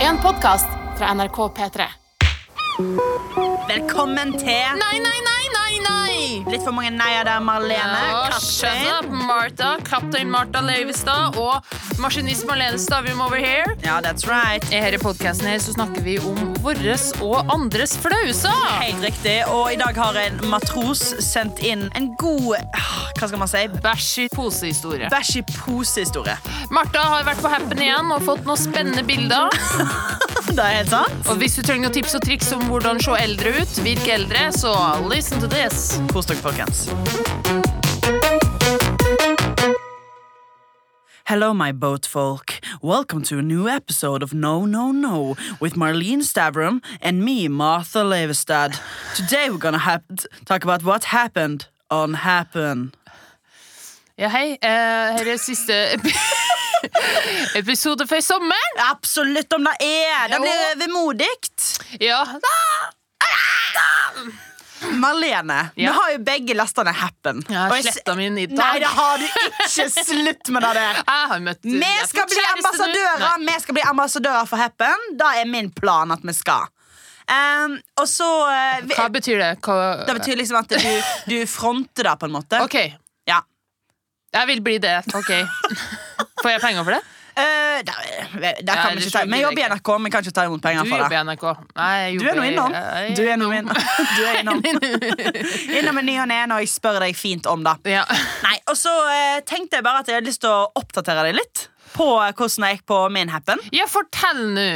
En podkast fra NRK P3. Velkommen til Nei, nei, nei, nei, nei! Litt for mange nei-er der, Marlene. Ja, shut Kaptein. up, Martha. Kaptein Martha Leivestad og maskinist Marlene Stavrum over here. Ja, that's right. I denne podkasten her så snakker vi om våres og andres flauser. Helt riktig. Og i dag har en matros sendt inn en god ah, Hva skal man si? Bæsj i posehistorie. Bæsj i pose-historie. Martha har vært på Happen igjen og fått noen spennende bilder. Det er helt sant. Og hvis du trenger noen tips og triks om hvordan se eldre ut, virke eldre, så listen to this. Kos dere, folkens. Hello, my boat folk. Welcome to a new episode of No No No with Marlene Stavrum and me, Martha Leverstad. Today we're gonna hap talk about what happened on Happen. Ja, hei. Eh, her er siste epi episode for sommeren. Absolutt om det er! Det Jo. blir vemodigt. Ja. Marlene, Ja. vi har jo begge lasta ned Happen. Jeg Og har jeg s- sletta min i dag. Nei, det har du ikke! Slutt med det der. Jeg har møtt Vi jeg skal fikk bli kjæreste nå. ambassadører Vi skal bli ambassadører for Happen. Da er min plan at vi skal. Ehm, og så eh, vi, Nei. Hva betyr det? Hva... Det betyr liksom at du, du fronter det, på en måte. OK. Ja. Jeg vil bli det. OK. Får jeg penger for det? Eh, der, der Ja, det kan vi ikke tror ta jeg Vi ikke. jobber i NRK, men kan ikke ta imot penger Du for jobber det. i NRK. Nei, jeg Du er nå jobber i- innom. Jeg- Du er nå innom. Du er innom. innom i ny og ne når jeg spør deg fint om det. Ja. Nei, og så eh, tenkte jeg bare at jeg hadde lyst til å oppdatere deg litt på eh, hvordan jeg gikk på min happen. ja, fortell nå.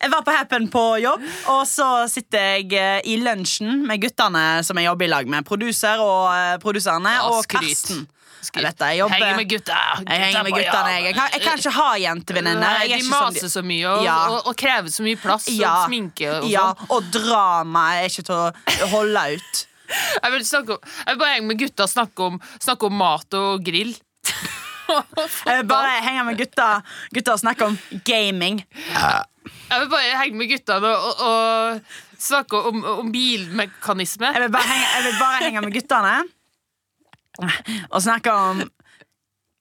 Jeg var på happen på jobb, og så sitter jeg eh, i lunsjen med guttene som jeg jobber i lag med. Produser og eh, produserne Ja, og skryt. Karsten. Skryt. Jeg vet det, jeg jobber- Henger med gutta. Jeg henger med på jobb. guttene. Jeg, jeg, kan, jeg kan ikke ha jentevenninner. Nei, Jeg er de ikke som de- maser så mye og, Ja. og, og krever så mye plass og sminke og ja, sånn. og drama er ikke til å holde ut. Jeg vil, snakke om, jeg vil bare henge med gutta og snakke om, snakke om mat og grill. Jeg bare henger med gutta, gutta og snakker om gaming. Jeg vil bare henge med gutta og, og, og snakke om, om bilmekanisme. Jeg vil bare henge, jeg vil bare henge med guttene og snakke om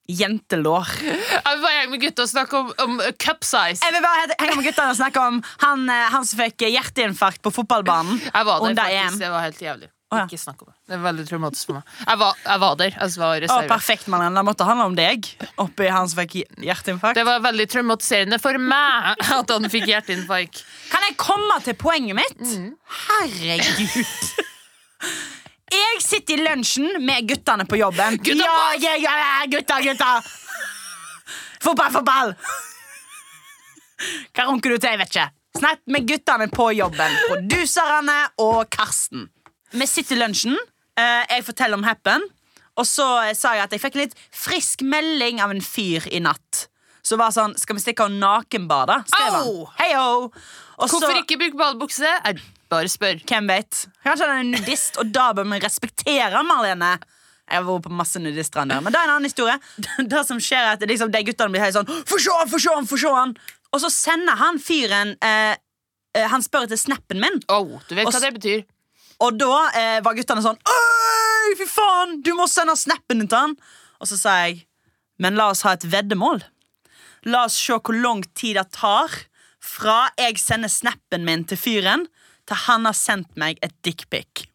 jentelår. Jeg vil bare henge med gutta og snakke om, om cup size. Jeg vil bare henge med guttene og snakke om han, eh, han som fikk hjerteinfarkt på fotballbanen. Jeg var der, under faktisk. EM. Det var helt jævlig. Å, ja. Ikke snakk om det. Det er veldig traumatisk for meg. Jeg var, jeg var der. Jeg var Å, reserve. perfekt, mannen. Det måtte handle om deg. Oppi han som fikk hj- hjerteinfarkt. Det var veldig traumatiserende for meg at han fikk hjerteinfarkt. Kan jeg komme til poenget mitt? Mm. Herregud. Jeg sitter i lunsjen med guttene på jobben. Gutta, ja, boys! ja, ja, ja, gutta, gutta! Fotball, fotball! Hva runker du til? Jeg vet ikke. Snakk med guttene på jobben. Produserne og Karsten. Vi sitter i lunsjen. eh, Jeg forteller om happen. Og så sa jeg at jeg fikk en litt frisk melding av en fyr i natt. Så var sånn, skal vi stikke og nakenbade? Skrev han. Au! Heio! Og Hvorfor så- ikke bruke badebukse? Jeg bare spør. Hvem vet? Kanskje han er nudist, og da bør vi respektere Marlene. Jeg har vært på masse nudiststrender, men det er en annen historie. Det som skjer er at liksom, de guttene blir helt sånn Få se han, få se han, få se han! Og så sender han fyren eh, eh, Han spør etter snappen min, Oh, du vet Og hva s- det betyr. og da eh, var guttene sånn Øy, fy faen! Du må sende snappen din til han! Og så sa jeg Men la oss ha et veddemål. La oss se hvor lang tid det tar fra jeg sender snappen min til fyren, til han har sendt meg et dickpic.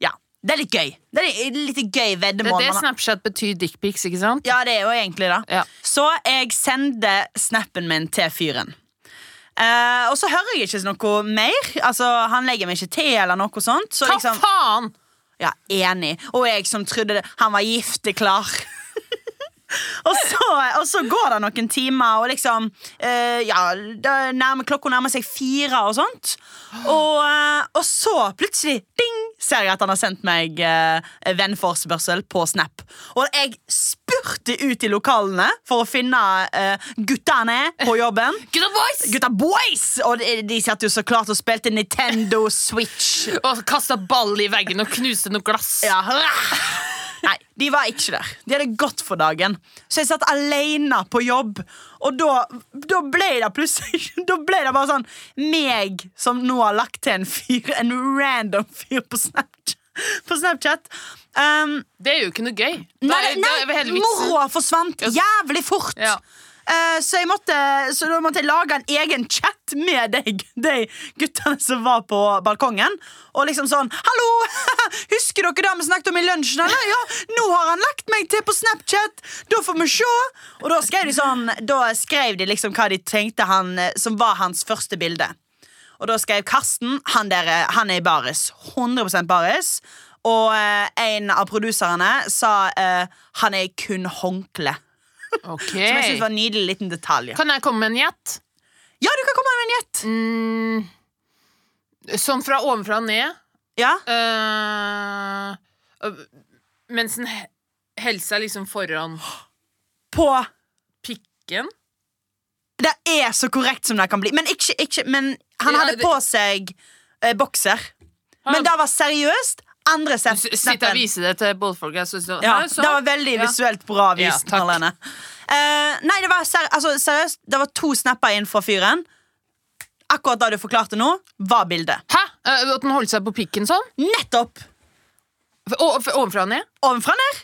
Ja, det er litt gøy. Det er litt, litt gøy Det er veddemål. det man har- Snapchat betyr dickpics, ikke sant? Ja, det er jo egentlig det. Ja. Så jeg sender snappen min til fyren. Eh, og så hører jeg ikke noe mer. Altså, Han legger meg ikke til, eller noe sånt. Så Hva liksom, faen? ja, enig. Og jeg som trodde det, han var gifteklar. og, så, og så går det noen timer, og liksom eh, Ja, det nærmer, klokka nærmer seg fire og sånt. Og, eh, og så plutselig ding, ser jeg at han har sendt meg uh, vennforespørsel på Snap. Og jeg spurte ut i lokalene for å finne eh, guttene på jobben. Gutta boys! Gutta boys! Og de, de satt jo så klart og spilte Nintendo Switch. Og kasta ball i veggen og knuste noe glass. Ja. Nei, de var ikke der. De hadde gått for dagen. Så jeg satt alene på jobb, og da, da ble det plutselig Da ble det bare sånn meg som nå har lagt til en fyr, en random fyr på Snapchat. På Snapchat. Um, Det er jo ikke noe gøy. Da nei, er- da er vel nei hele vitsen. moroa forsvant jævlig fort. Ja. Eh, så, jeg måtte, så da måtte jeg lage en egen chat med de, de guttene som var på balkongen. Og liksom sånn 'Hallo! Husker dere det vi snakket om i lunsjen?' Eller? 'Ja, nå har han lagt meg til på Snapchat! Da får vi se!' Og da skrev de sånn Da skrev de liksom hva de tenkte han, som var hans første bilde. Og da skrev Karsten Han, der, er- han er i baris. 100 baris. Og eh, en av produserne sa eh, 'Han er kun håndkle'. Ok. Som jeg synes var en nydelig liten detalj. Kan jeg komme med en gjett? Ja, du kan komme med en gjett! Mm, sånn fra ovenfra og ned. Ja. eh, øh, mens en he- helse er liksom foran På pikken. Det er så korrekt som det kan bli. Men, ikke, ikke, men han Ja, hadde det- på seg eh, bokser. Han- Men det var seriøst. Andre S- sett Sitte og vise det til båtfolk. Jeg synes det- Ja, Nei, sånn. det var veldig Ja. visuelt bra vist. Ja, takk. Marlene. Eh, nei, det var ser, altså, seriøst. Det var to snapper inn fra fyren. Akkurat det du forklarte nå, var bildet. Hæ? Eh, At den holdt seg på pikken sånn? Nettopp! F- o- f- Ovenfra og ned? Ovenfra ned.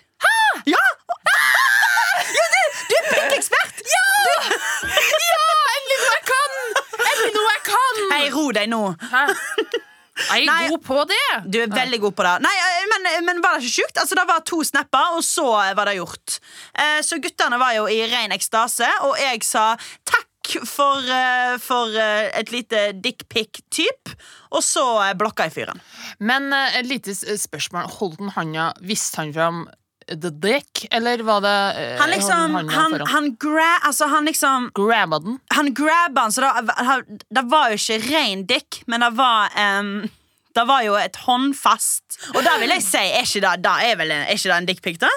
Ja! ja du, du er pikkekspert! Ja! Endelig noe jeg kan! Endelig noe jeg kan! Hei, ro deg nå. Hæ? Er jeg Nei. god på det? Du er veldig god på det. Nei, eh, men, men var det ikke sjukt? Altså, det var to snapper, og så var det gjort. Eh, Så guttene var jo i ren ekstase, og jeg sa takk for, eh, for eh, et lite dickpic-typ. Og så eh, blokka jeg fyren. Men eh, et lite s- spørsmål. Holdt han handa Visste han fram the dick, eller var det eh, Han liksom, holdt handa han, foran? han, gra altså, han liksom Grabba den. Han grabba han, så det, det var jo ikke ren dick, men det var em, det var jo et håndfast. Og da vil jeg si, er ikke det, da er vel en, er ikke det en dickpic, da?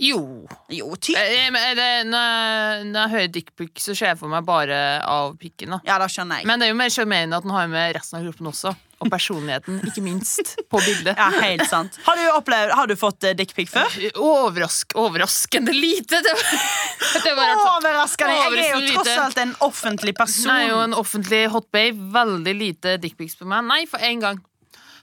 Jo. Jo, ty. Eh, men er det, når, jeg, når jeg hører dickpic, så ser jeg for meg bare av pikken. da Ja, det skjønner jeg. Men det er jo mer sjarmerende at den har med resten av kroppen også. Og personligheten, ikke minst, på bildet. Ja, helt sant Har du, opplevd, har du fått uh, dickpic før? Overrask, overraskende lite! Det var, det var rart. Overraskende! Jeg er Overraskende jo tross lite. alt en offentlig person. Hun er jo en offentlig hotbabe. Veldig lite dickpics på meg. Nei, for én gang.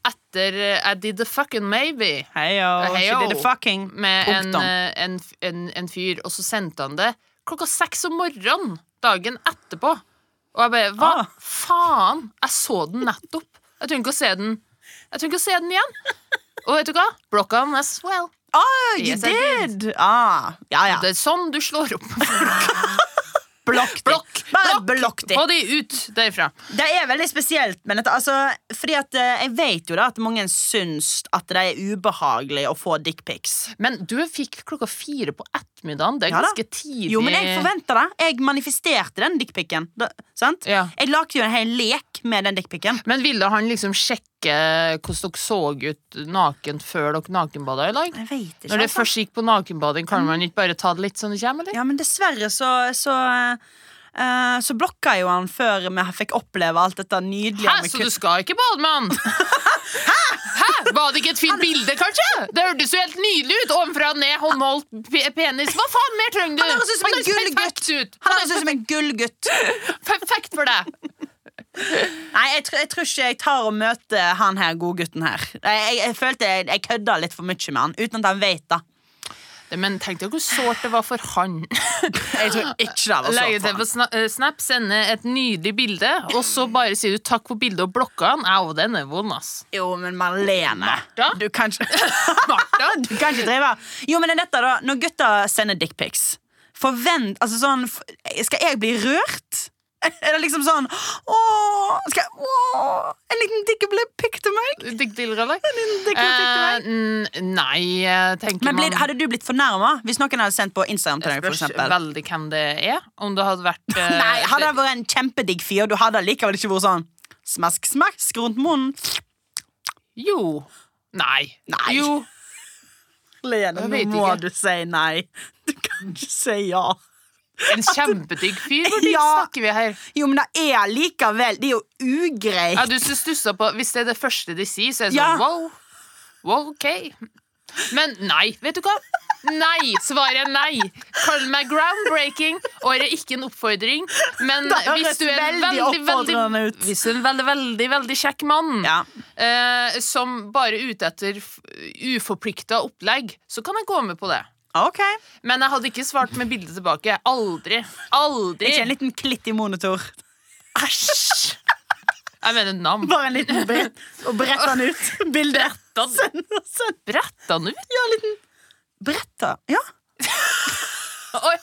Etter eh, I did the fucking maybe Heio, Heio. she did the fucking med en, Punktum. eh, en, f- en, en fyr, og så sendte han det klokka seks om morgenen dagen etterpå. Og jeg bare Hva Ah. faen? Jeg så den nettopp. Jeg trenger ikke å se den Jeg trenger ikke å se den igjen. Og vet du hva? Blokka han as well. Ah, you Yes, I did. did! Ah, ja, ja. Det er sånn du slår opp. Blokk. Blokk! Bare blokk de. Få de ut derfra. Det er veldig spesielt, men dette, altså, fordi at eh, jeg vet jo da at mange syns at det er ubehagelig å få dickpics. Men du fikk klokka fire på ettermiddagen. Det er Ja da. ganske tidlig. Jo, men jeg forventa det. Jeg manifesterte den dickpicen. Da- sant? Ja. Jeg lagde jo en hel lek med den dickpicen. Men ville han liksom sjekke hvordan dere så ut nakent før dere nakenbada i dag? Jeg vet ikke. Når det altså. først gikk på nakenbading, kan man ikke bare ta det litt sånn det kommer, eller? Ja, men dessverre så Så, eh, så blokka jo han før vi fikk oppleve alt dette nydelige Hæ, med så du kutt. skal ikke bade med han? Hæ? Hæ? Var det ikke et fint bilde, kanskje? Det hørtes jo helt nydelig ut. Ovenfra og ned, håndholdt pe- penis. Hva faen mer trenger du? Han høres ut som en perfekt ut. Han høres ut som en gullgutt. Perfekt for deg. Nei, jeg, tror- jeg tror ikke jeg tar og møter han her godgutten her. Jeg, jeg, jeg følte jeg, jeg kødda litt for mye med han, uten at han vet det. Men tenk deg hvor sårt det var for han. Jeg tror ikke det var Legge så det på sna- eh, Snap, sende et nydelig bilde, og så bare sier du takk for bildet og blokker han. Au, den er vond, ass. Jo, men Marlene Martha? Du kan ikke Du kan ikke drive Jo, men det er dette da Når gutta sender dickpics Forvent Altså sånn f- Skal jeg bli rørt? Er det liksom sånn Åh Skal jeg Åh En liten dickpic til meg Digg til, eller? En liten dickpic til Eh, meg n- nei, jeg tenker men ble, man hadde du blitt fornærmet hvis noen hadde sendt på Instagram til deg, for spørs eksempel? veldig hvem det er. Om det hadde vært eh, Nei, hadde det vært en kjempedigg fyr, du hadde likevel ikke vært sånn Smask, smask rundt munnen. Jo. Nei. Nei. Jo. Jeg Lene, nå vet må ikke. du si nei. Du kan ikke si ja. En kjempedigg fyr. Hvor digg Ja. snakker vi her? Jo, men det er likevel Det er jo ugreit. Ja, du som stusser på Hvis det er det første de sier, så er det Ja. sånn wow. Wow, ok. Men nei, vet du hva? Nei. Svaret er nei. Kall meg groundbreaking, og det er ikke en oppfordring. Men Det høres hvis du er en veldig veldig, veldig, oppfordrende ut. hvis du er en veldig, veldig, veldig kjekk mann Ja. eh, som bare er ute etter f- uforplikta opplegg, så kan jeg gå med på det. OK. Men jeg hadde ikke svart med bilde tilbake. Aldri. Aldri. Ikke en liten klitt i monitor. Æsj! Jeg mener nam. Bare en liten brett, og brett den ut. Bildet. Da Send, send. bretta den ut. Ja, en liten bretta. Ja. Oi,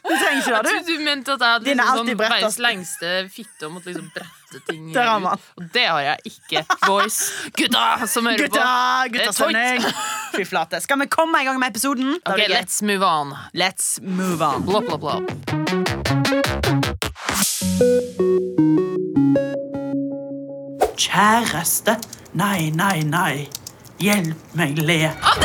Du trenger ikke jeg det, du. trodde du mente at jeg hadde liksom Dine er alltid sånn brettet. verdens lengste fitte og måtte liksom brette ting Der har ut. man. Og det har jeg ikke. Boys. Gutta som hører Gutta, Det er gutta toit. sending. Fy flate. Skal vi komme i gang med episoden? Da på. blir Ok, det gøy. let's move on. Let's move on. Bla, bla, bla. Kjæreste. Nei, nei, nei. Hjelp meg le. Ah!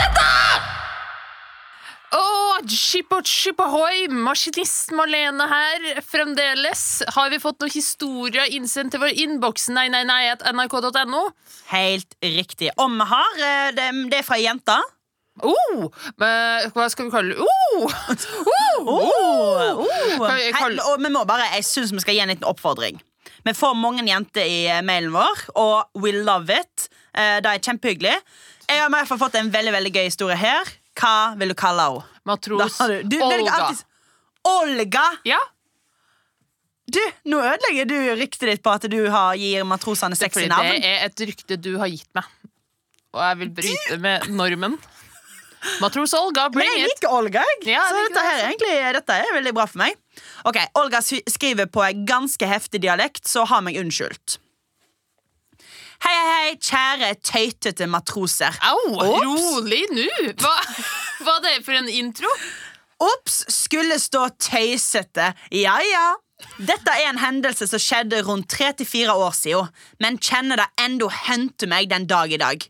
Åh, skip og skip ahoy! Maskinist Marlene her, fremdeles. Har vi fått noen historier innsendt til vår innboks? Nei, nei, nei, at nrk.no? Helt riktig. Om vi har eh, det, det er fra ei jente. Oh, men hva skal vi kalle det? Oh! Oh! Oh, oh. Kan vi Hei, kalle- og vi må bare, jeg syns vi skal gi en liten oppfordring. Vi får mange jenter i eh, mailen vår, og we love it. Eh, Det er kjempehyggelig. Jeg har i hvert fall fått en veldig veldig gøy historie her. Hva vil du kalle henne? Da Matros har du- du velger Olga. alltid- Olga! Ja, Du, nå ødelegger du ryktet ditt på at du har, gir matrosene sexy fordi det navn. er et rykte du har gitt meg. Og jeg vil bryte med normen. Matros Olga, Men bring jeg it! liker Olga, jeg. Ja, jeg så liker dette, her, det er egentlig, dette er veldig bra for meg. Ok, Olga sy- skriver på en ganske heftig dialekt, så ha meg unnskyldt. Hei, hei, hei, kjære tøytete matroser. Au, Ops. rolig nå! Hva, hva er det for en intro? Ops, skulle stå tøysete. Ja, ja. Dette er en hendelse som skjedde rundt 3-4 år siden, men kjenner det enda hente meg den dag i dag.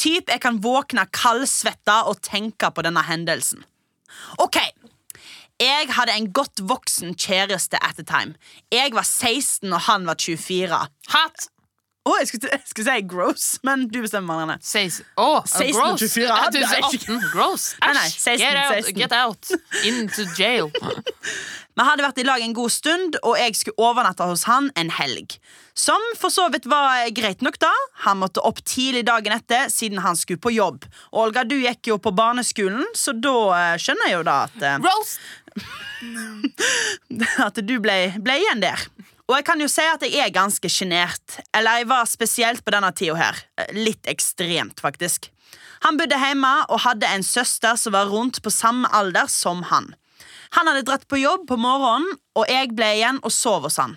Typ jeg kan våkne kaldsvetta og tenke på denne hendelsen. Ok, jeg hadde en godt voksen kjæreste at the time. Jeg var 16 og han var 24. Hat! Å, jeg skulle, jeg skulle si gross, men du bestemmer, Marianne. Seis, oh, 16 gross. til 24, Jeg det er trodde ikke- 18. Gross. Nei, nei, Æsj. 16, Get out. 16. Get out. Into jail. Vi hadde vært i lag en god stund, og jeg skulle overnatte hos han en helg. Som for så vidt var greit nok, da. Han måtte opp tidlig dagen etter siden han skulle på jobb. Olga, du gikk jo på barneskolen, så da eh, skjønner jeg jo da at eh, Gross. at du ble, ble igjen der. Og jeg kan jo si at jeg er ganske sjenert. Eller jeg var spesielt på denne tida her. Eh, Litt ekstremt, faktisk. Han bodde hjemme og hadde en søster som var rundt på samme alder som han. Han hadde dratt på jobb på morgenen, og jeg ble igjen og sov hos han.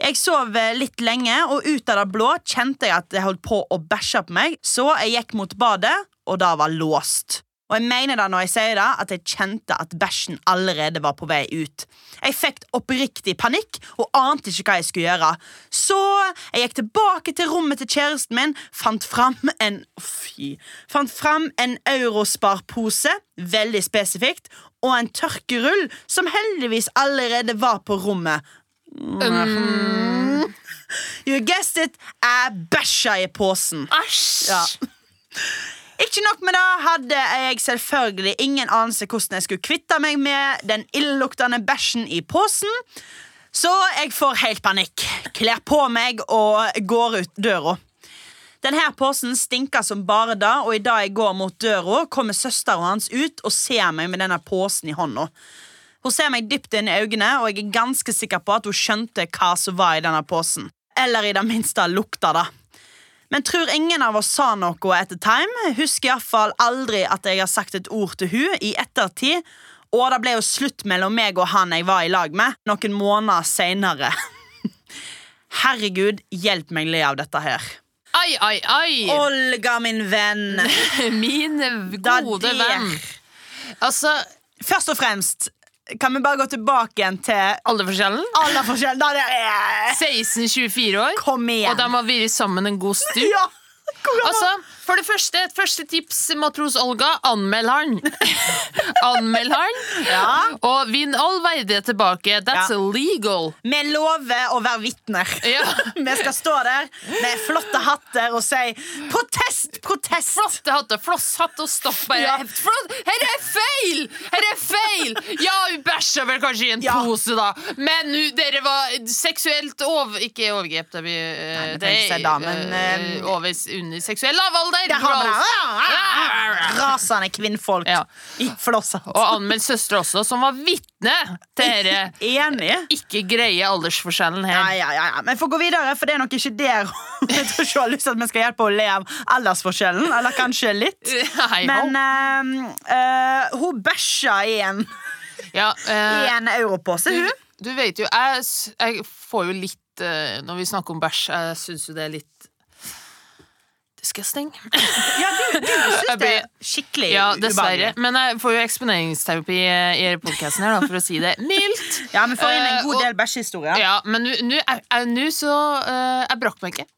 Jeg sov eh, litt lenge, og ut av det blå kjente jeg at jeg holdt på å bæsje på meg, så jeg gikk mot badet, og det var låst. Og jeg mener det når jeg sier det, at jeg kjente at bæsjen allerede var på vei ut. Jeg fikk oppriktig panikk og ante ikke hva jeg skulle gjøre. Så jeg gikk tilbake til rommet til kjæresten min, fant fram en Fy. Fant fram en Eurospar-pose, veldig spesifikt, og en tørkerull som heldigvis allerede var på rommet. Um, Mm. You guessed it, jeg bæsja i posen. Æsj. Ja. Ikke nok med det hadde jeg selvfølgelig ingen anelse hvordan jeg skulle kvitte meg med den illeluktende bæsjen i posen, så jeg får helt panikk. Kler på meg og går ut døra. Denne posen stinker som bare da, og i dag jeg går mot døra, kommer søsteren hans ut og ser meg med denne posen i hånda. Hun ser meg dypt inn i øynene, og jeg er ganske sikker på at hun skjønte hva som var i denne posen. Eller i det minste lukta det. Men tror ingen av oss sa noe etter time. Husker iallfall aldri at jeg har sagt et ord til hun i ettertid. Og det ble jo slutt mellom meg og han jeg var i lag med, noen måneder seinere. Herregud, hjelp meg le av dette her. Ai, ai, ai. Olga, min venn. Min Da gode der. venn. Altså, Først og fremst, kan vi bare gå tilbake igjen til alderforskjellen? alderforskjellen? Da det er 16-24 år. Kom igjen. Og de har vært sammen en god stund. Ja. Hvor gammel- Altså, for det første, et første tips, matros Olga, anmeld han. anmeld han. Ja. Og vinn all verdighet tilbake. That's Ja. illegal. Vi lover å være vitner. Ja. Vi skal stå der med flotte hatter og si 'protest, protest'! flotte hatter, flosshatt og stopp bare. Ja. Flott. Her er feil! Her er feil! Ja, hun bæsja vel kanskje i en Ja. pose, da. Men hun, dere var seksuelt over... Ikke overgrep, det blir eh, men det tenk seg da, men, eh, eh, over, under seksuell lavalde. Kvinner! Der har vi det. gross. Ah, ah, ah. Rasende kvinnfolk Ja. i flosshatt. Og anmeldt søster også, som var vitne til dette Enig? ikke greie aldersforskjellen her. Ja, ja, ja, ja. Men få gå videre, for det er nok ikke der Jeg tror ikke jeg har lyst til at vi skal hjelpe å le av aldersforskjellen. Eller kanskje litt. Nei, Men eh, eh, hun bæsja i en, ja, i eh, en europose, du, hun. du vet jo, jeg, s- jeg får jo litt eh, Når vi snakker om bæsj, jeg syns jo det er litt disgusting. Ja, du, du syns Jeg det blir- er skikkelig Ja, ubehagelig. dessverre. Men jeg får jo eksponeringsterapi eh, i podkasten her, da, for å si det mildt. Ja, vi får inn en Eh, god og- del bæsjehistorier. Ja, men nå- nå er- er- nå så eh, Jeg brakk meg ikke.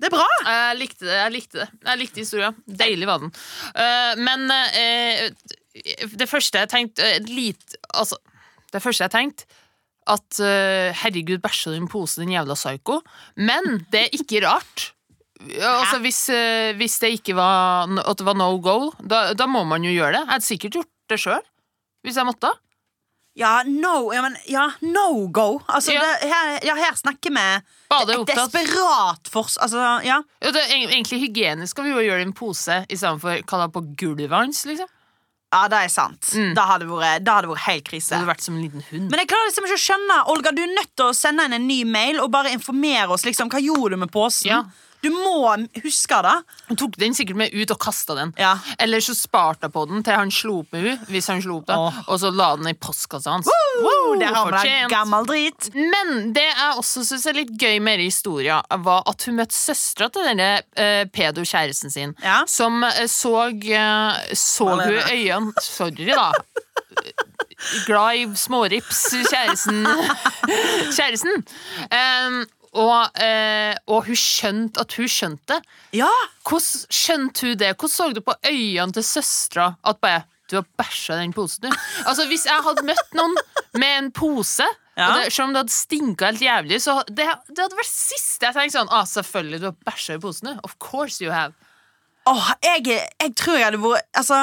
Det er bra! Jeg likte det. Jeg likte det Jeg likte historien. Deilig var den. Eh, men eh, det første jeg tenkte eh, lit, Altså, det første jeg tenkte at eh, herregud, bæsja du i en pose, din jævla psyko? Men det er ikke rart. Ja, altså, hvis, eh, hvis det ikke var no- At det var no go, da, da må man jo gjøre det. Jeg hadde sikkert gjort det sjøl, hvis jeg måtte. Ja, no, ja, men, ja, no go. Altså, Ja. Det, her, ja, her snakker vi Bare det er et opptatt. desperat fors... Altså, ja. Ja, det er eg- egentlig hygienisk å gjøre det i en pose istedenfor kalla på gulvet hans, liksom. ja, det er sant. Da hadde det vært, da hadde det vært Mm. helt Det krise. hadde vært som en liten hund. Men jeg klarer liksom ikke å skjønne Olga, du er nødt til å sende inn en ny mail og bare informere oss. liksom, Hva gjorde du med posen? Ja. Du må huske det. Han tok den sikkert med ut og kasta den. Ja. Eller så sparte jeg på den til han slo opp med henne, hvis han slo opp da, Åh. og så la den i postkassa hans. Wow, der har vi deg, fortjent. gammel drit. Men det jeg også syns er litt gøy med denne historia, var at hun møtte søstera til denne eh, pedo-kjæresten sin, Ja. som eh, så eh, Så hun Malene. øynene Sorry, da. Glad i smårips, kjæresten. kjæresten. Em, og, eh, og hun skjønte at hun skjønte det. Ja, Hvordan skjønte hun det? Hvordan så du på øynene til søstera at bare du har bæsja i den posen, du? Altså, hvis jeg hadde møtt noen med en pose Ja. og det, Selv om det hadde stinka helt jævlig, så det, det hadde vært siste jeg tenkte sånn ah, Selvfølgelig, du har bæsja i posen, du. Of course you have. Åh, jeg, jeg tror jeg hadde vært Altså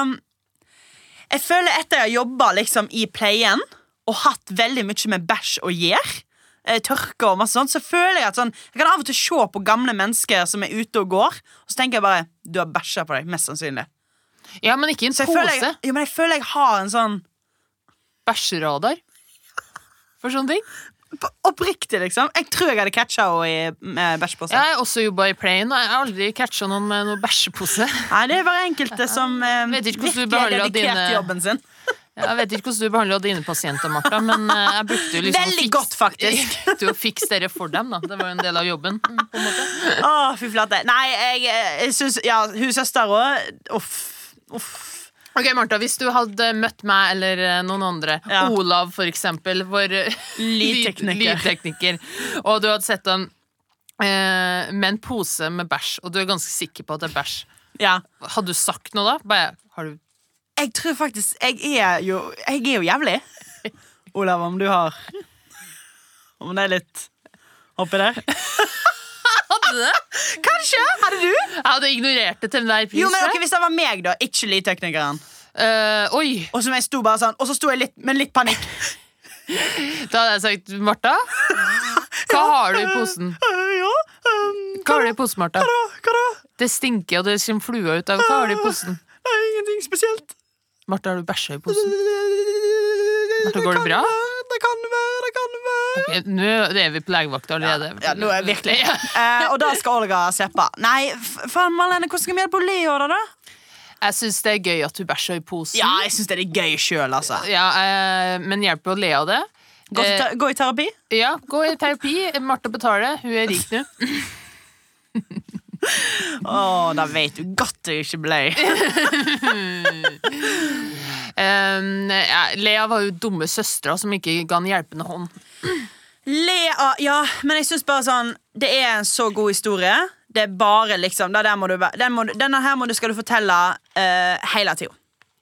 Jeg føler etter jeg har jobba liksom, i pleien og hatt veldig mye med bæsj å gjøre, eh, tørke og masse sånt, så føler jeg at sånn Jeg kan av og til se på gamle mennesker som er ute og går, og så tenker jeg bare Du har bæsja på deg, mest sannsynlig. Ja, men ikke i en Så jeg føler jeg, pose. jo, men jeg føler jeg har en sånn Bæsjeradar. For sånne ting. på- Oppriktig, liksom. Jeg tror jeg hadde catcha henne i eh, bæsjposen. Jeg har også jobba i Playen, og jeg har aldri catcha noen med noen bæsjepose. Nei, det er bare enkelte som eh, Vet ikke hvordan du virkelig er behandler dedikert dine- til jobben sin. Jeg vet ikke hvordan du behandla dine pasienter, Martha, men eh, jeg brukte jo liksom å Veldig fikse- godt, faktisk. Jeg brukte jo å fikse dere for dem, da. Det var jo en del av jobben. mm, på en måte. Å, fy flate. Nei, jeg, jeg syns Ja, hun søster òg Uff. Uff. Ok, Martha, hvis du hadde møtt meg eller eh, noen andre, Ja. Olav for eksempel, vår eh, lyd- Lydtekniker. lydtekniker, og du hadde sett han eh, med en pose med bæsj, og du er ganske sikker på at det er bæsj, Ja. hadde du sagt noe da? Bare, har du Jeg tror faktisk Jeg er jo, jeg er jo jævlig. Olav, om du har Om det er litt oppi der? Hadde du det? Kanskje! Hadde du? Jeg hadde ignorert det til enhver pris. Jo, men tror ok, jeg. Hvis det var meg, da, ikke lydteknikeren, Eh, oi, og som jeg sto bare sånn Og så sto jeg litt med litt panikk. da hadde jeg sagt Martha, hva har du i posen? Eh, Ja, ehm, Hva har du i posen, Martha? da, hva da? Eh, Det stinker, og det kommer fluer ut av Hva har du i posen? Nei, Ingenting spesielt. Martha, har du bæsja i posen? Dette går det bra? Det kan være, det kan være Ok, Nå er vi på legevakta allerede. Ja, nå er jeg virkelig Ja. Eh, Og da skal Olga slippe. Nei, f- faen Marlene, hvordan skal vi hjelpe Leo da? da? Jeg syns det er gøy at du bæsja i posen. Ja, jeg syns det er litt gøy sjøl, altså. Ja, eh, men hjelper å le av det. Gå, til Eh, te- gå i terapi? ja, gå i terapi. Martha betaler. Hun er rik nå. Å, da vet du godt du ikke ble. Um, ja, Lea var jo dumme søstera som ikke ga en hjelpende hånd. Lea, ja, men jeg syns bare sånn Det er en så god historie. Det er bare liksom det der må du, væ- den må du, Denne her må du, skal du fortelle eh, hele tida.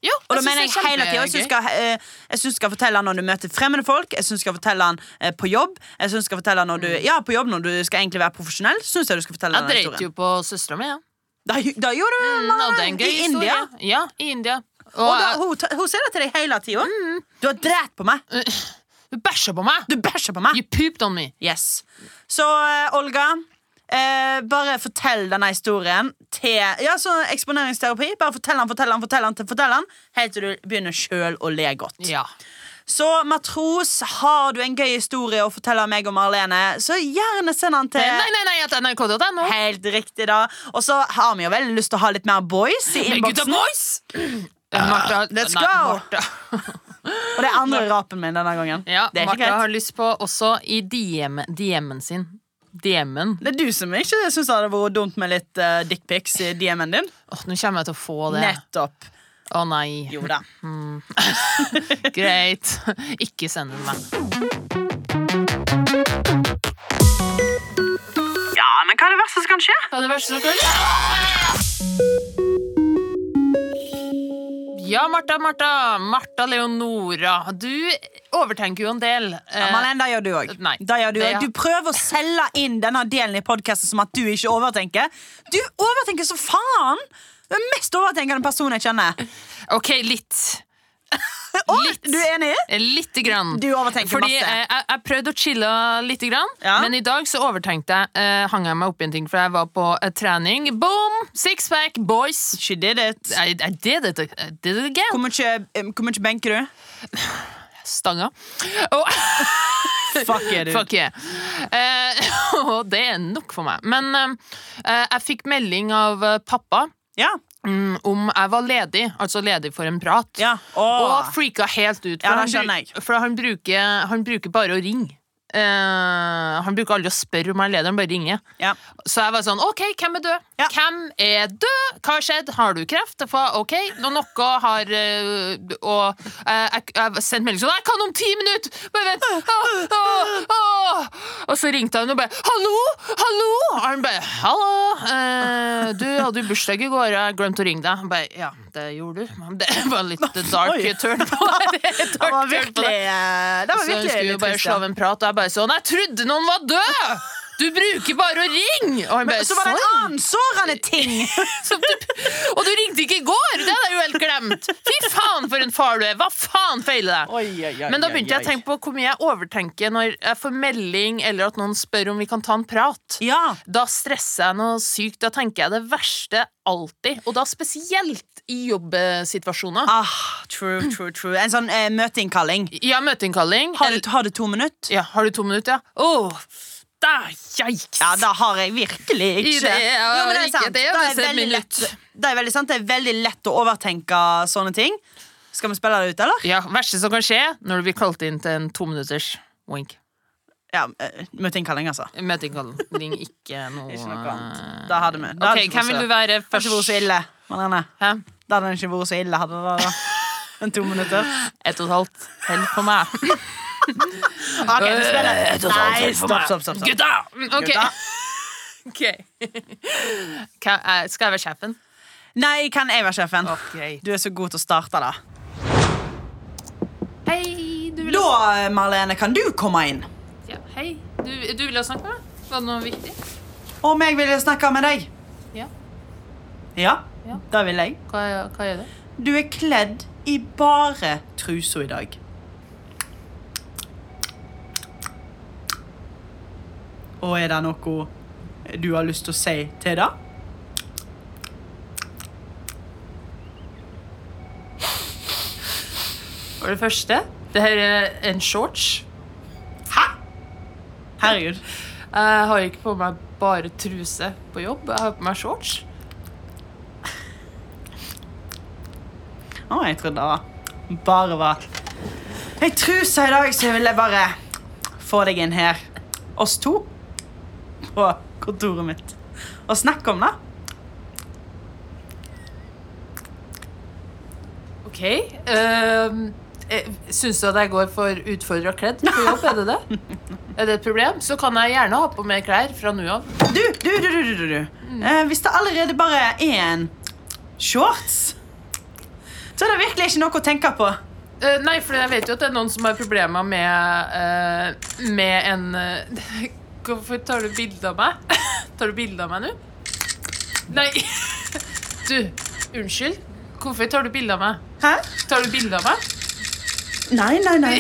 Jo, Og da synes mener jeg det er hele tiden, Jeg syns kjempegøy. skal, eh, jeg synes skal fortelle han når du møter fremmede folk, jeg synes skal fortelle han eh, på jobb. Jeg synes skal fortelle han når du, Ja, på jobb når du skal egentlig være profesjonell. Synes jeg du skal fortelle Mm. Jeg denne dreit historien jo på søstera mi, ja. Da, da gjorde du Hun hadde det en gøy i India. historie. Ja, i India. Og, Mm. Og da, hun, ta- hun sier det til deg hele tida. Du har drept på meg. hun bæsja på meg! Du bæsjer på meg. You pooped on me! Yes. Så eh, Olga, Eh, bare fortell denne historien til Ja, så eksponeringsterapi. Bare fortell han, fortell han, fortell han, til- fortell han helt til du begynner sjøl å le godt. Ja. Så matros, har du en gøy historie å fortelle meg og Marlene, så gjerne send den til Eh, Nei, nei, nei, at nrk.no. Helt riktig, da. Og så har vi jo veldig lyst til å ha litt mer boys i Men gutta innboksen. boys! Eh, Martha, let's nei, go. Martha. Og det er andre rapen min denne gangen. Ja, det er ikke Martha greit. har lyst på også i DM, DM-en sin. DM-en. Det er du som ikke syns det hadde vært dumt med litt uh, dickpics i DM-en din. Åh, nå kommer jeg til å få det. Nettopp. Å nei. Jo da. Greit. Ikke send den meg. Ja, men hva er det verste som kan skje? Ja, det verste som kan skje. Ja, Martha, Martha. Martha Leonora. Du overtenker jo en del. Ja, Marlene, det gjør du òg. Eh, Nei, Det gjør du, det- også. du prøver å selge inn denne delen i podkasten som at du ikke overtenker. Du overtenker så faen! Du er den mest overtenkende personen jeg kjenner. Eh, OK, litt. Litt. Du er enig? Eh, Lite grann. Du overtenker Fordi masse. eh, jeg, jeg prøvde å chille litt, grann, Ja. men i dag så overtenkte jeg. Eh, hang jeg meg opp i en ting, for jeg var på eh, trening. Boom! Sixpack, boys. She did it. I, I did it, I did it again. Hvor mye, eh, hvor mye benker du? Stanga. Og Fuck er du. Fuck yeah. Eh, og det er nok for meg. Men eh, jeg fikk melding av eh, pappa Ja. mm, om jeg var ledig, altså ledig for en prat. ja. Åh. Og freaka helt ut, for, Ja, det han, skjønner bruk, for han, bruker, han bruker bare å ringe. Eh, han bruker aldri å spørre om jeg er ledig, han bare ringer. ja. Så jeg var sånn OK, hvem er død? Ja. Hvem er død? Hva har skjedd? Har du kreft? Fa- OK, og noe har eh, Og eh, jeg, jeg sendte melding sånn Jeg kan om ti minutter! Bare vent! Åh, åh, åh. Og så ringte han og bare Hallo! Hallo! Og han bare Hallo! eh, du hadde jo bursdag i går, jeg glemte å ringe deg. Han bare Ja, det gjorde du. Men Det var litt dark Oi. turn på det. er dark Det turn var på det. virkelig, eh, Så det var jeg virkelig skulle jo litt bare trist, slå ja. av en prat, og jeg bare sånn Jeg trodde noen var død! Du bruker bare å ringe! Og han bare Så var det en «Sorry». annen sårende ting. Så du, Og du ringte ikke i går! Det hadde jeg jo helt glemt! Fy faen for en far du er! Hva faen feiler deg? Men da begynte jeg å tenke på hvor mye jeg overtenker når jeg får melding eller at noen spør om vi kan ta en prat. Ja. Da stresser jeg noe sykt. Da tenker jeg det verste alltid. Og da spesielt i jobbsituasjoner. Ah, true, true, true. En sånn eh, møteinnkalling. Ja, møteinnkalling. Har eller- du, har du to minutter? Ja, har du to minutter, ja? Åh, der, yikes! Ja, det har jeg virkelig ikke. I det, ja, Jo, men ikke det, Det men er, sett veldig minutt. lett, det er veldig sant. Det er veldig lett å overtenke sånne ting. Skal vi spille det ut, eller? Ja, verste som kan skje når du blir kalt inn til en tominutters wink. Ja, eh, møteinnkalling, altså. Møteinnkalling, ikke noe Ikke noe annet. Da hadde vi. Da Ok, hadde ikke vært Hvem så- vil du være Det hadde ikke vært så først? ille, Marianne. Hæ? Da hadde det ikke vært så ille, hadde det da. En to minutter. Ett og et halvt. Hell på meg. Ok, vi spiller. Nei, stopp, stopp, stopp. stopp. Gutta! Mm, Ok. Gutta. Ok. Hva- eh, Skal jeg være sjefen? Nei, kan jeg være sjefen? Ok. Du er så god til å starte, da. Hei, du vil, Da, Marlene, kan du komme inn. ja, hei. Du, du ville snakke med meg? Var det noe viktig? Om jeg ville snakke med deg. Ja. Ja, Ja. da vil jeg. Hva, er- hva er det? Du er kledd i bare trusa i dag. Og er det noe du har lyst til å si til det? For det første, det her er en shorts. Hæ? Herregud. Jeg har ikke på meg bare truse på jobb. Jeg har på meg shorts. Å, jeg trodde det bare var Ei truse i dag, så jeg ville bare få deg inn her, oss to, på kontoret mitt, og snakke om det. Ok. ehm, eh, Syns du at jeg går for utfordra kledd på jobb? Er det det? Er det et problem? Så kan jeg gjerne ha på mer klær fra nå av. Du, du, du, du, du, du, du. Eh, Hvis det allerede bare er en shorts, så er det virkelig ikke noe å tenke på. Eh, nei, for jeg vet jo at det er noen som har problemer med eh, Med en eh, Hvorfor tar du bilde av meg? Tar du bilde av meg nå? Nei Du, unnskyld. Hvorfor tar du bilde av meg? Hæ? Tar du bilde av meg? Nei, nei, nei.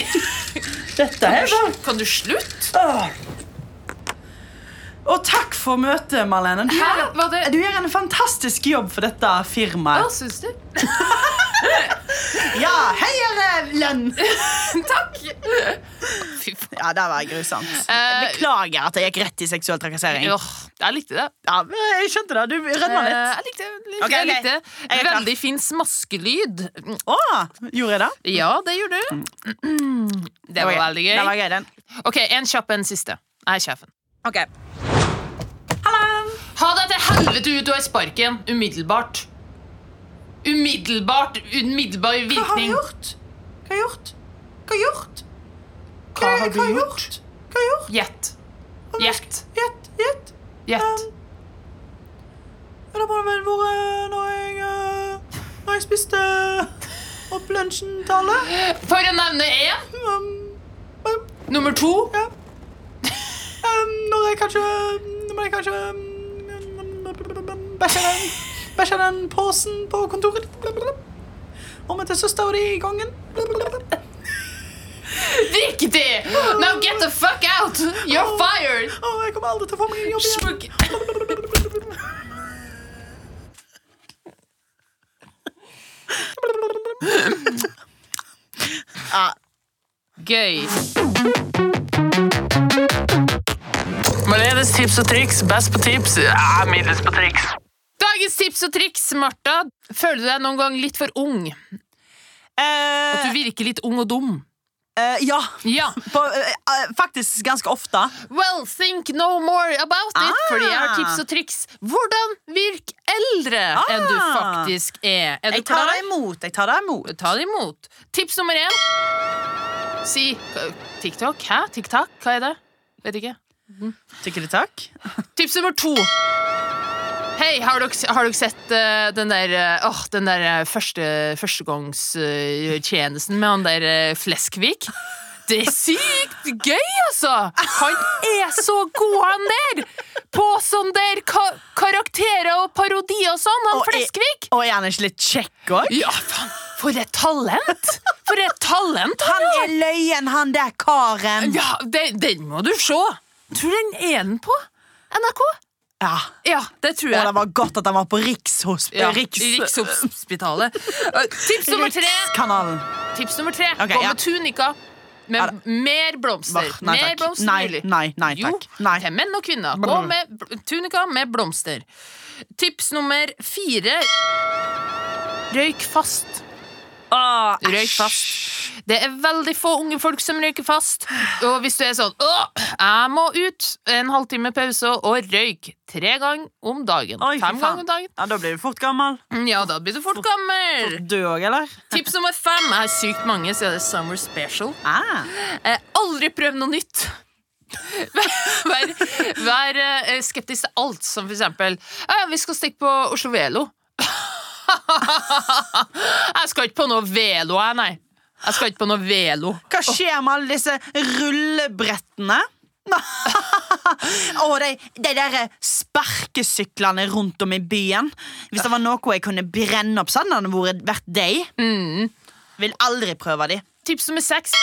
Dette er bare Kan du slutte? Åh. Og takk for møtet, Marlene. Du Hæ? gjør, Var det- du gjør en fantastisk jobb for dette Hva firmaet. syns du? Ja, høyere lønn! Takk! Fy faen. Ja, det var grusomt. Eh, Beklager at jeg gikk rett i seksuell trakassering. Åh, jeg likte det. Ja, men jeg skjønte det. Du rødma Eh, litt. Jeg likte det. Ok, Jeg ok. likte det. Jeg er klar. Veldig fin smaskelyd. Mm, Å, gjorde jeg det? Ja, det gjorde du. Mm, Det var veldig Mm. Det gøy. var gøy, den. Ok, En kjapp en siste. Jeg er sjefen. Ok. Hallo! Ha deg til helvete ut og i sparken. Umiddelbart. Umiddelbart. Umiddelbar Hva har jeg virkning. gjort? Hva har jeg gjort? Hva har jeg gjort? Hva har du jeg gjort? Hva har jeg gjort? Gjett. Om jeg Gjett. sk- Gjett, gjett. Gjett. Ja, Det må det vel vært når jeg eh, Når jeg spiste opp lunsjen til alle. For å nevne én. Um, um, Nummer to. ja. Um, når jeg kanskje Når jeg kanskje um, Bæsja den, bæsja den posen på kontoret. Og møtte søstera di i gangen. Riktig! Now get the fuck out! You're fired! Å, jeg kommer aldri til å få meg en jobb igjen. Smug. Ah, Gøy. Marlenes tips og triks, best på tips, ja, middels på triks. Dagens tips og triks, Martha. Føler du deg noen gang litt for ung? Eh, Du virker litt ung og dum. eh, ja. Ja. På, eh, eh, faktisk ganske ofte. Well, think no more about it, Ah. fordi jeg har tips og triks. Hvordan virk eldre enn du faktisk er. Er du Ah. Jeg tar klar? det imot. Jeg tar det imot. Ta det imot. Tips nummer én. Si øh, TikTok? Hæ? TikTok? Hva er det? Vet ikke. Tykker du takk? Tips nummer to. Hei, har dere, har dere sett eh, den der, eh, åh, den der eh, første, førstegangstjenesten med han der eh, Fleskvik? Det er sykt gøy, altså! Han er så god, han der! På sånn der ka karakterer og parodier og sånn, han Og er- Fleskvik! Og er han ikke litt kjekk òg? Ja, faen! For et talent! For et talent han Han har! er løyen, han der karen. Ja, den, den må du se! Tror du den er den på NRK? Ja. Ja, det tror jeg. Og det var godt at han var på Rikshosp... Ja, Riks... Rikshospitalet. Eh, Tips nummer tre, Rikskanalen. Tips nummer tre. Ok, Gå ja. med tunika. Med Ja da. mer blomster. Bah, nei mer takk. blomster Nei, mulig. nei, nei takk. Jo, Nei. til menn og kvinner. Gå Brr. med bl- tunika med blomster. Tips nummer fire Røyk fast. Åh, Røyk fast. Det er veldig få unge folk som røyker fast. Og hvis du er sånn Åh, jeg må ut en halvtime pause og røyk tre ganger om dagen. Oi, fy Fem faen. ganger om dagen. Ja, da blir du fort gammel. Ja, da blir du fort gammel. Du òg, eller? Tips nummer fem er sykt mange, så er det Summer Special. Ah. Eh, aldri prøv noe nytt. vær, vær eh, skeptisk til alt, som for eksempel «Ja, Vi skal stikke på Oslo Velo. jeg skal ikke på noe velo, jeg, nei. Jeg skal ikke på noe velo. Hva skjer med alle disse rullebrettene? Og de, de der sparkesyklene rundt om i byen. Hvis det var noe jeg kunne brenne opp, så hadde det vært- vært deg. Mm. Vil aldri prøve de. Tips nummer seks.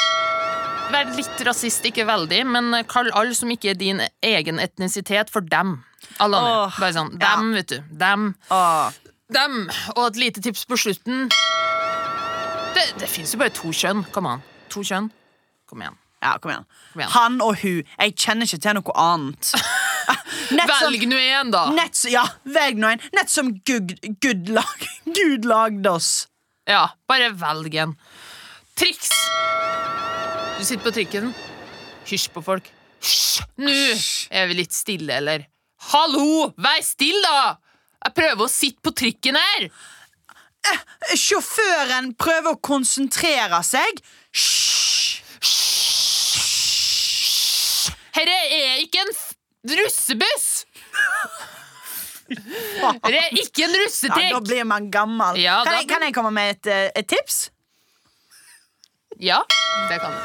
Vær litt rasist, ikke veldig, men kall alle som ikke er din egen etnisitet, for dem. Alle andre. Åh, Bare sånn. ja. Dem, vet du. Dem. Åh. dem. Og et lite tips på slutten. Det, det fins jo bare to kjønn. Kom an. To kjønn. Kom igjen. Ja, kom igjen. Kom igjen. Han og hun. Jeg kjenner ikke til noe annet. Nett som- Velg nå én, da. Nett, s- ja, velg nå en. Nett som Gud, Gud, lag, Gud lagde oss. Ja, bare velg en. Triks! Du sitter på trikken. Hysj på folk. Hysj! Nå er vi litt stille, eller? Hallo! Vær stille, da! Jeg prøver å sitte på trikken her! Sjåføren prøver å konsentrere seg. Hysj! Herre er ikke en f russebuss! Herre er ikke en Ja, da russetrikk! blir man gammel. Ja, kan, da jeg, blir- kan jeg komme med et, eh, et tips? Ja, det kan du.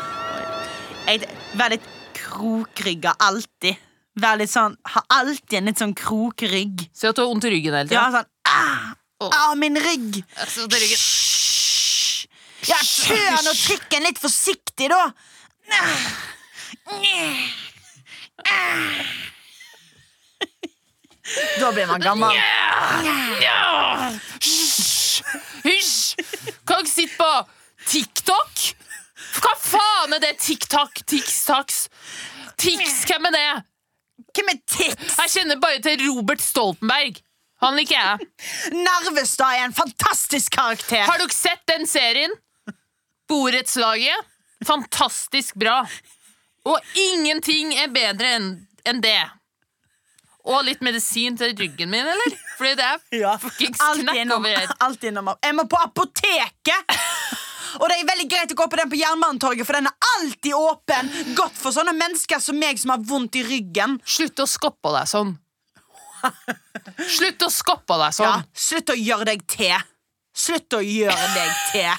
Jeg, vær litt krokrygga alltid. Vær litt sånn, ha alltid en litt sånn krokrygg. Se at du har vondt i ryggen hele Ja, tiden. sånn ah, Åh. ah, min rygg! Jeg ser vondt i ryggen. Hysj! Ja, kjør nå trikken litt forsiktig, da! Ah. Ah. Da blir man gammel. Ja! Hysj! Hysj! Kan ikke sitte på TikTok? Hva faen er det TikTok? Tix-tax? Tix, hvem er det? Hvem er Tix? Jeg kjenner bare til Robert Stoltenberg. Han liker jeg. Narvestad er en fantastisk karakter. Har dere sett den serien? Borettslaget? Fantastisk bra. Og ingenting er bedre enn enn det. Og litt medisin til ryggen min, eller? Fordi det er Ja. fuckings Alt knekk innom, over her. alt innom. Jeg må på apoteket! Og det er veldig greit å gå på den på Jernbanetorget, for den er alltid åpen. Godt for sånne mennesker som meg som har vondt i ryggen. Slutt å skoppe deg sånn. Slutt å skoppe deg Ja, sånn. slutt å gjøre deg til. Slutt å gjøre deg til.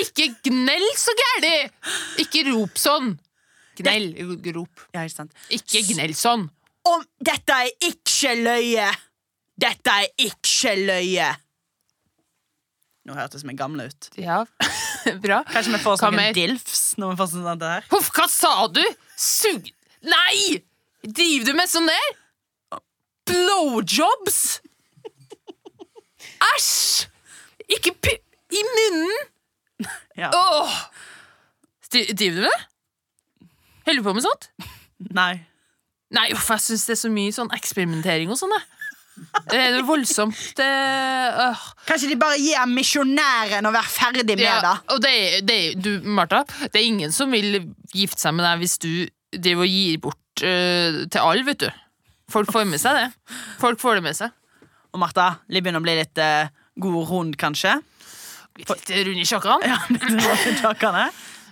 Ikke gnell så gæli! Ikke rop sånn. Gnell, ikke rop. Ja, ikke sant. Ikke gnell sånn. Om dette er ikke løye. Dette er ikke løye. Nå hørtes vi gamle ut. Ja, bra. Kanskje vi Hva får oss noen mer? dilfs når vi får sånn det her. Huff, hva sa du? Sug... Nei! Driver du med sånn der? Blowjobs? Æsj! Ikke pi... I munnen! Ja. Åh! Dri- Driver du med det? Holder du på med sånt? Nei. Nei, uff, jeg syns det er så mye sånn eksperimentering og sånn, jeg. Det er voldsomt. Det, øh. Kanskje de bare gir misjonæren å være ferdig med det. Og det, er- det, er- du, Martha, det er ingen som vil gifte seg med deg hvis du driver og gir bort øh, til alle, vet du. Folk får med seg det. Folk får det med seg. Og Martha, litt begynner å bli litt eh, god rund, kanskje. Litt Rund i sjakkene. Ja, litt rund i takkene.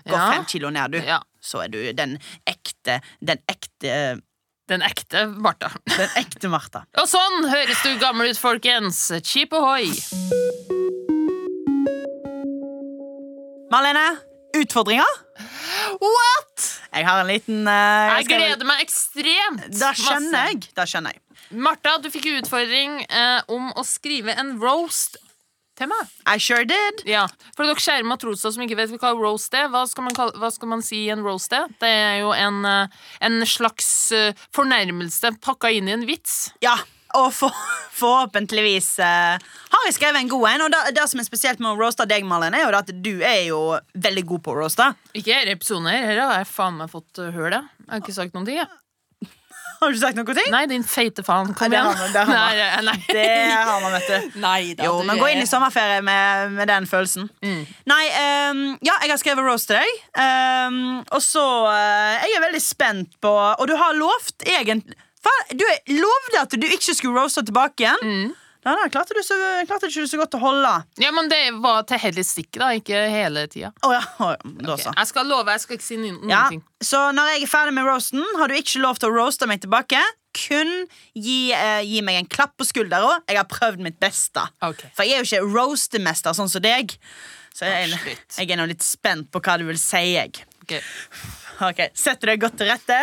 Gå Ja. fem kilo ned, du. Ja. Så er du den ekte, den ekte, Den ekte Martha. den ekte Martha. Og sånn høres du gammel ut, folkens. Chip ohoi. Marlene, utfordringer? What?! Jeg har en liten eh, Jeg skal- gleder meg ekstremt. Da skjønner masse. jeg. Da skjønner jeg. Martha, du fikk utfordring eh, om å skrive en roast til meg. I sure did. Ja, For dere kjære matroser som ikke vet hva roast er, hva skal man, kalle, hva skal man si i en roast er? Det er jo en, eh, en slags eh, fornærmelse pakka inn i en vits. Ja, og for, forhåpentligvis eh, har jeg skrevet en god en. Og det, det som er spesielt med å roaste deg, Marlene, er jo det at du er jo veldig god på å roaste. Ikke denne episoden her. Her har jeg faen meg fått eh, høl, jeg. Jeg har ikke sagt noen ting, jeg. Har du sagt noe ting? Nei, din feite faen. Kom Nei, det igjen. har man, det har man. Nei, nei. Det har man, vet du. Nei da, Jo, du eh, men gå inn er- i sommerferie med, med den følelsen. Nei, ehm, ja, jeg har skrevet roast til deg. Ehm, og så eh, Jeg er veldig spent på Og du har lovt egentlig Fa- Du er- lovde at du ikke skulle roaste tilbake igjen. Nei, nei, klarte du så, klarte ikke du så godt å holde. Ja, men det var til hele stikket, da. Ikke hele tida. Å ja, å, da så. Jeg skal love, jeg skal ikke si no- noen Altså. Ja, ting. så når jeg er ferdig med roasten, har du ikke lov til å roaste meg tilbake. Kun gi, eh, gi meg en klapp på skuldra. Jeg har prøvd mitt beste. Ok. For jeg er jo ikke roastemester sånn som deg. Så jeg, Absolutt. jeg er nå litt spent på hva du vil si. Jeg. Ok. Ok, Setter deg godt til rette.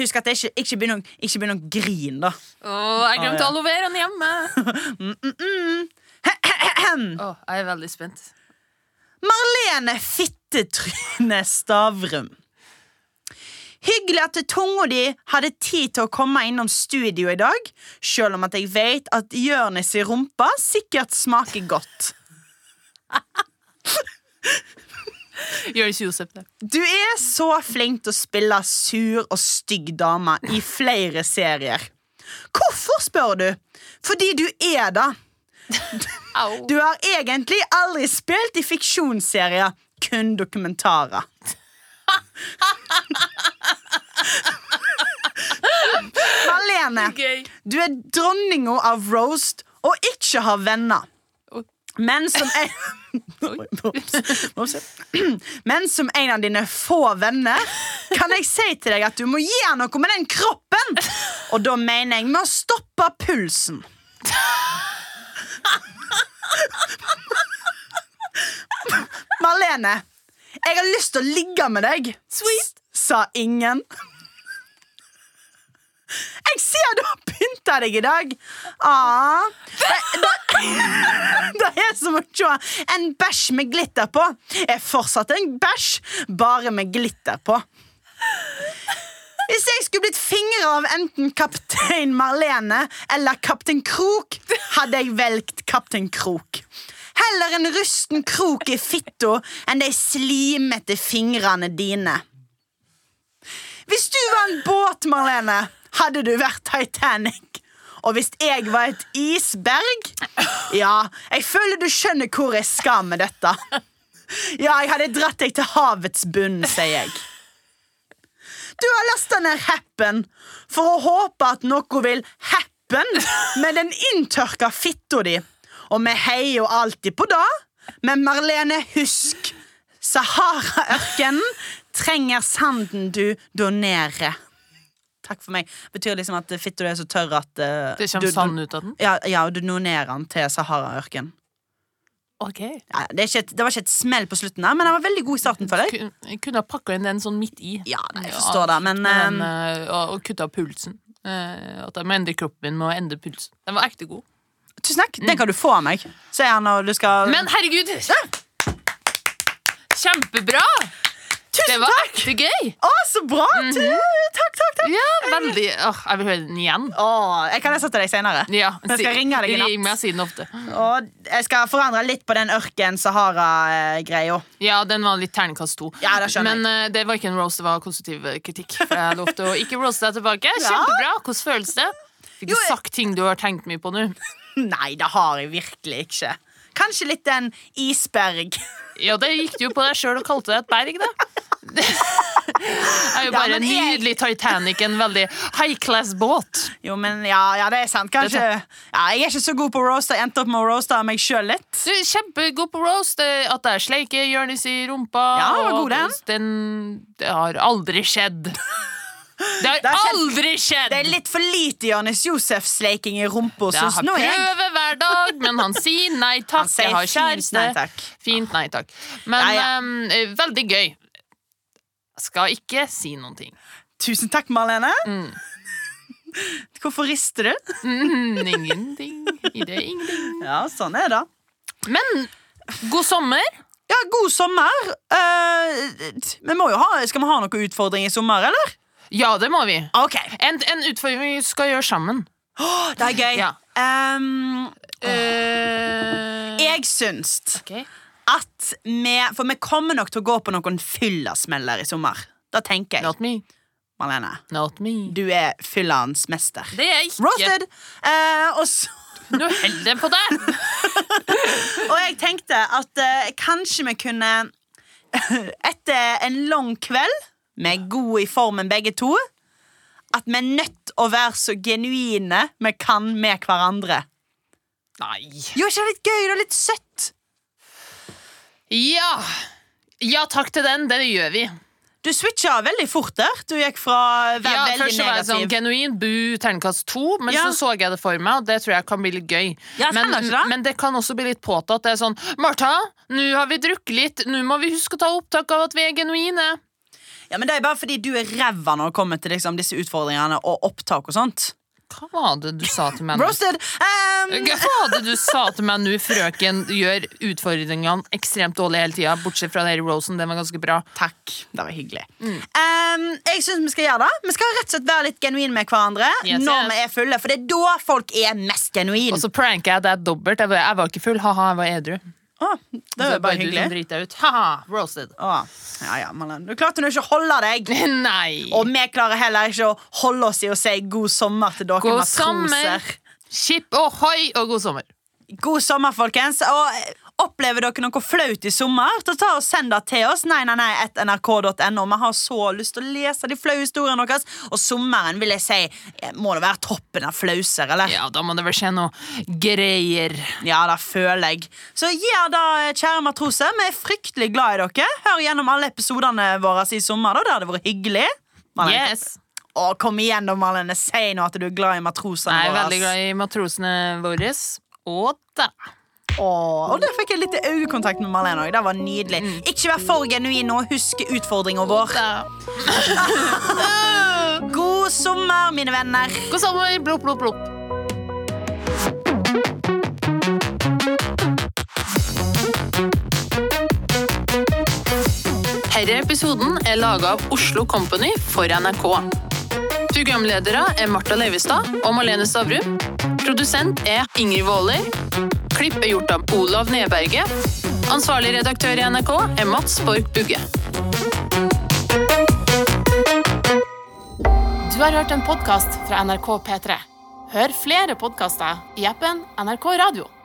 Husk at det ikke, ikke blir noen, ikke blir noen grin, da. Åh, jeg glemte Å, Ah, ja. Mm, aloe veraen hjemme. Ahem. Åh, jeg er veldig spent. Marlene Fittetryne Stavrum. Hyggelig at tunga di hadde tid til å komme innom studio i dag, selv om at jeg vet at Jørnis i rumpa sikkert smaker godt. Jonis Josef, det. Du er så flink til å spille sur og stygg dame i flere serier. Hvorfor, spør du? Fordi du er det. Au. Du har egentlig aldri spilt i fiksjonsserier, kun dokumentarer. Marlene, Gøy. du er dronninga av roast og ikke har venner. Oi. Men som en Oi, mops, mops, ja. Men som en av dine få venner kan jeg si til deg at du må gjøre noe med den kroppen. Og da mener jeg med å stoppe pulsen. Marlene, jeg har lyst til å ligge med deg. Sweet. Sa ingen. Jeg ser du har pynta deg i dag. Ah. Det, det, det er som å se en bæsj med glitter på. Er fortsatt en bæsj, bare med glitter på. Hvis jeg skulle blitt fingret av enten kaptein Marlene eller kaptein Krok, hadde jeg velgt kaptein Krok. Heller en rusten krok i fitta enn de slimete fingrene dine. Hvis du var en båt, Marlene, hadde du vært Titanic. Og hvis jeg var et isberg Ja, jeg føler du skjønner hvor jeg skal med dette. Ja, jeg hadde dratt deg til havets bunn, sier jeg. Du har lasta ned happen for å håpe at noe vil happen med den inntørka fitta di. Og vi heier jo alltid på det, men Marlene, husk Sahara-ørkenen trenger sanden du donerer. Takk for meg. Betyr liksom at fitta di er så tørr at eh, Det du- kommer du- sand ut av den. Ja, ja, du donerer den til Sahara-ørkenen. Ok Ja, det, er ikke et, det var ikke et smell på slutten, der, men den var veldig god i starten. føler jeg Kun- Jeg kunne ha pakka inn den sånn midt i. Ja, nei, jeg forstår det, men, ehm, Men, eh, og, og kutta pulsen. Eh, at jeg må endre kroppen min med å endre pulsen. Den var ekte god. eh, Tusen takk, Den kan du få av meg. Så er han når du skal Men herregud! Kjempebra! Det Tusen var Mhm. takk! ekte gøy! Å, så bra! Tu- Takk, takk, takk. Ja, veldig Åh, Jeg vil høre den igjen. Å, jeg kan lese til deg senere. Ja, Jeg skal si- ringe deg i natt. Ring meg og si den ofte. Og jeg skal forandre litt på den ørken-Sahara-greia. Ja, den var litt terningkast to. Ja, det skjønner Men eh, det var ikke en roast, det var konstruktiv eh, kritikk. For jeg lovte å ikke roaste deg tilbake. Kjempebra! Hvordan føles det? Fikk du Jo, jeg- sagt ting du har tenkt mye på nå? Nei, det har jeg virkelig ikke. Kanskje litt den isberg. Ja, det gikk du jo på deg sjøl og kalte deg et berg, da. Det er jo Ja, bare en men jeg- nydelig Titanic, en veldig high class båt. Jo, men ja, ja, det er sant. Kanskje ja, Jeg er ikke så god på å roaste. Jeg Endte opp med å roaste meg sjøl litt. Du, Kjempegod på roast. eh, At det er sleike Jonis i rumpa. Ja, det var og god, den. at den Det har aldri skjedd. Det har har skjedd- aldri skjedd! Det er litt for lite Jonis Josef-sleiking i rumpa, Ja, syns han nå jeg. prøver hver dag, men han sier nei takk. Han sier jeg har fint kjæreste. nei takk. Fint nei takk. Men Ja, ja. ehm, eh, veldig gøy. Skal ikke si noen ting. Tusen takk, Marlene. Hvorfor rister du? Mm, ingenting i det. Ingenting. Ja, sånn er det. Men god sommer. Ja, god sommer. Eh, vi må jo ha, skal vi ha noen utfordring i sommer, eller? Ja, det må vi. Ok, En, en utfordring vi skal gjøre sammen. Det er gøy. Ja. Ehm, Eh, jeg syns ok. at vi For vi kommer nok til å gå på noen fyllasmeller i sommer. Da tenker jeg. Not me. Marlene, Not me. du er fyllans mester. Det er jeg ikke. Roasted! Eh, og så Nå holder den på deg. Og jeg tenkte at eh, kanskje vi kunne Etter en lang kveld Vi er gode i formen begge to At vi er nødt å være så genuine Vi kan med hverandre Nei. Jo, er ikke det litt gøy, det er litt søtt Ja. Ja, takk til den. Det gjør vi. Du switchet veldig fort der Du gikk fra å være Ja, veldig først så var jeg sånn negativ genuin bu terningkast to, men Ja. så så jeg det for meg, og det tror jeg kan bli litt gøy. Ja, jeg men, skjønner ikke det. men det kan også bli litt påtatt. Det er sånn Martha, nå har vi drukket litt, nå må vi huske å ta opptak av at vi er genuine. Ja, men det er bare fordi du er revet når det kommer til liksom, disse utfordringene Og opptak og sånt Hva var det du sa til meg nå? Roasted um, Hva var det du sa til meg nå, frøken? Gjør utfordringene ekstremt dårlige hele tida, bortsett fra Deri Rosen, den var ganske bra. Takk. Det var hyggelig. Mm. Um, jeg synes Vi skal gjøre det Vi skal rett og slett være litt genuine med hverandre Yes, når yes. vi er fulle. For det er da folk er mest genuine. Og så pranker jeg deg dobbelt. Jeg var, jeg var ikke full, ha-ha, jeg var edru. Å, det Så var bare du som hyggelig. driter deg ut. Ha-ha, roasted. Å, ja, ja, Malene. Du klarte nå ikke å holde deg. Nei. Og vi klarer heller ikke å holde oss i å si god sommer til dere God sommer. matroser. Skip ohoi og god sommer. God sommer, folkens. Og eh, opplever dere noe flaut i sommer, så ta og send det til oss. Nei, nei, nei, at nrk.no. Vi har så lyst til å lese de flaue historiene deres. Og sommeren vil jeg si eh, må det være toppen av flauser, eller? Ja, da må det vel skje noe greier. Ja, det føler jeg. Så gjør det, kjære matroser. Vi er fryktelig glad i dere. Hør gjennom alle episodene våre i sommer. da, Det hadde vært hyggelig. Malene, Yes. Å, kom igjen, da, Marlene. Si nå at du er glad i matrosene Jeg er våre. veldig glad i matrosene våre. Og da Åh, og der fikk jeg litt øyekontakt med Marlene òg. Det var nydelig. Ikke vær for genuin nå. Husk utfordringa vår. da. God sommer, mine venner. God sommer! Plopp, plopp, plopp. Herre episoden er laga av Oslo Company for NRK. Programledere er Marta Leivestad og Malene Stavrum. Produsent er Ingrid Waaler. Klipp er gjort av Olav Nedberget. Ansvarlig redaktør i NRK er Mats Borg Bugge. Du har hørt en podkast fra NRK P3. Hør flere podkaster i appen NRK Radio.